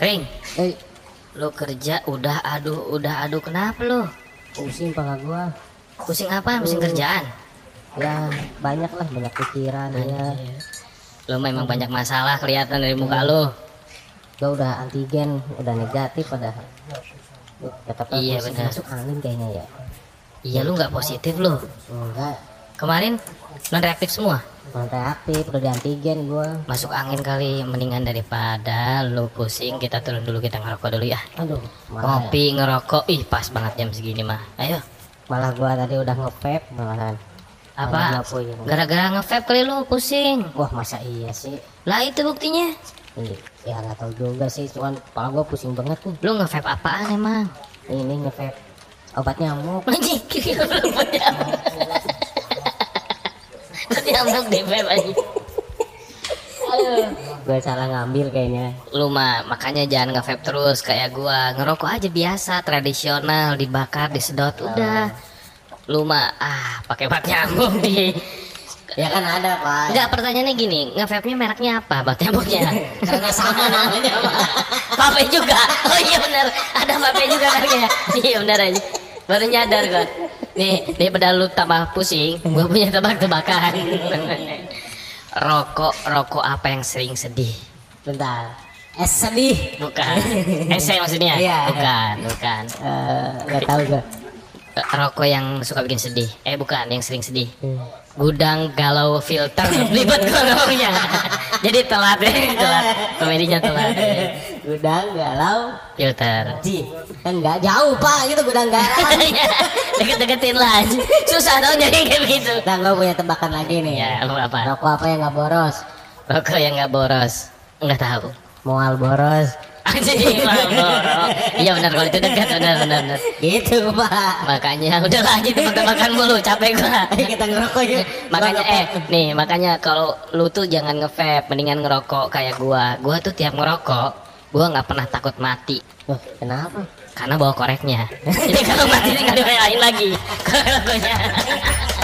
Ring, Eh, lu kerja udah aduh udah aduh kenapa lu? pusing pala gua. Pusing apa? Pusing kerjaan. Ya, banyak lah banyak pikiran ya. Iya. Lu memang banyak masalah kelihatan dari muka lu. Gua udah antigen, udah negatif padahal. Duh, tetap Iya, masih benar. masuk angin kayaknya ya. Iya lu nggak positif lu. Enggak, Kemarin non reaktif semua. santai aktif, udah di antigen gua. Masuk angin kali mendingan daripada lu pusing kita turun dulu kita ngerokok dulu ya. Aduh, malah, Kopi ngerokok ih pas banget jam segini mah. Ayo. malah gua tadi udah nge-vape malahan. Apa? Malah ngapuin. Gara-gara nge-vape kali lu pusing. Wah, masa iya sih? Lah itu buktinya. Ih, Ya nggak tahu juga sih, cuman kepala gua pusing banget nih. Lu nge-vape apaan emang? Ini nge-vape obat nyamuk. Anjing, kira lu nyamuk. Lu nyamuk di vape anjing. Gua salah ngambil kayaknya. Lu mah makanya jangan nge-vape terus kayak gua. Ngerokok aja biasa, tradisional, dibakar, disedot, Ah. udah. Lu mah ah pakai bat nyamuk di. Ya kan ada, Pak. Enggak, pertanyaannya gini, nge-vape-nya mereknya apa? Bat nyamuknya. Karena sama namanya, Pak. Vape juga. Oh iya benar, ada vape juga kan ya. Iya benar aja. Baru nyadar gua. Nih, daripada lu tambah pusing, gua punya tebak-tebakan. rokok, rokok apa yang sering sedih? Bentar. Es sedih. Bukan. Ese maksudnya? Iya. Bukan, bukan. Eh, Nggak tahu gua. Eh, Rokok yang suka bikin sedih. Eh bukan, yang sering sedih. Hmm. Gudang galau filter libet golongnya. Jadi telat ya, telat. Komedinya telat. Gudang galau. Filter. Ji. Enggak jauh, Pak. Itu gudang galau. Deket-deketin lah. Susah tau jadi kayak begitu. Nah, gua punya tebakan lagi nih. Ya, lu apa? Rokok apa yang nggak boros? Rokok yang nggak boros. Nggak tahu. Mual boros. Anjing, maaf, boros. Iya benar kalau itu dekat benar benar. benar. Gitu, Pak. Makanya udah lagi teman-teman mulu capek gua. Ayo kita ngerokok yuk. Makanya Gua eh nih makanya kalau lu tuh jangan nge-vape, mendingan ngerokok kayak gua. Gua tuh tiap ngerokok, gua nggak pernah takut mati ngerokok. Wah, kenapa? karena bawa koreknya. Jadi kalau mati tinggal dibayarin lagi. Koreknya.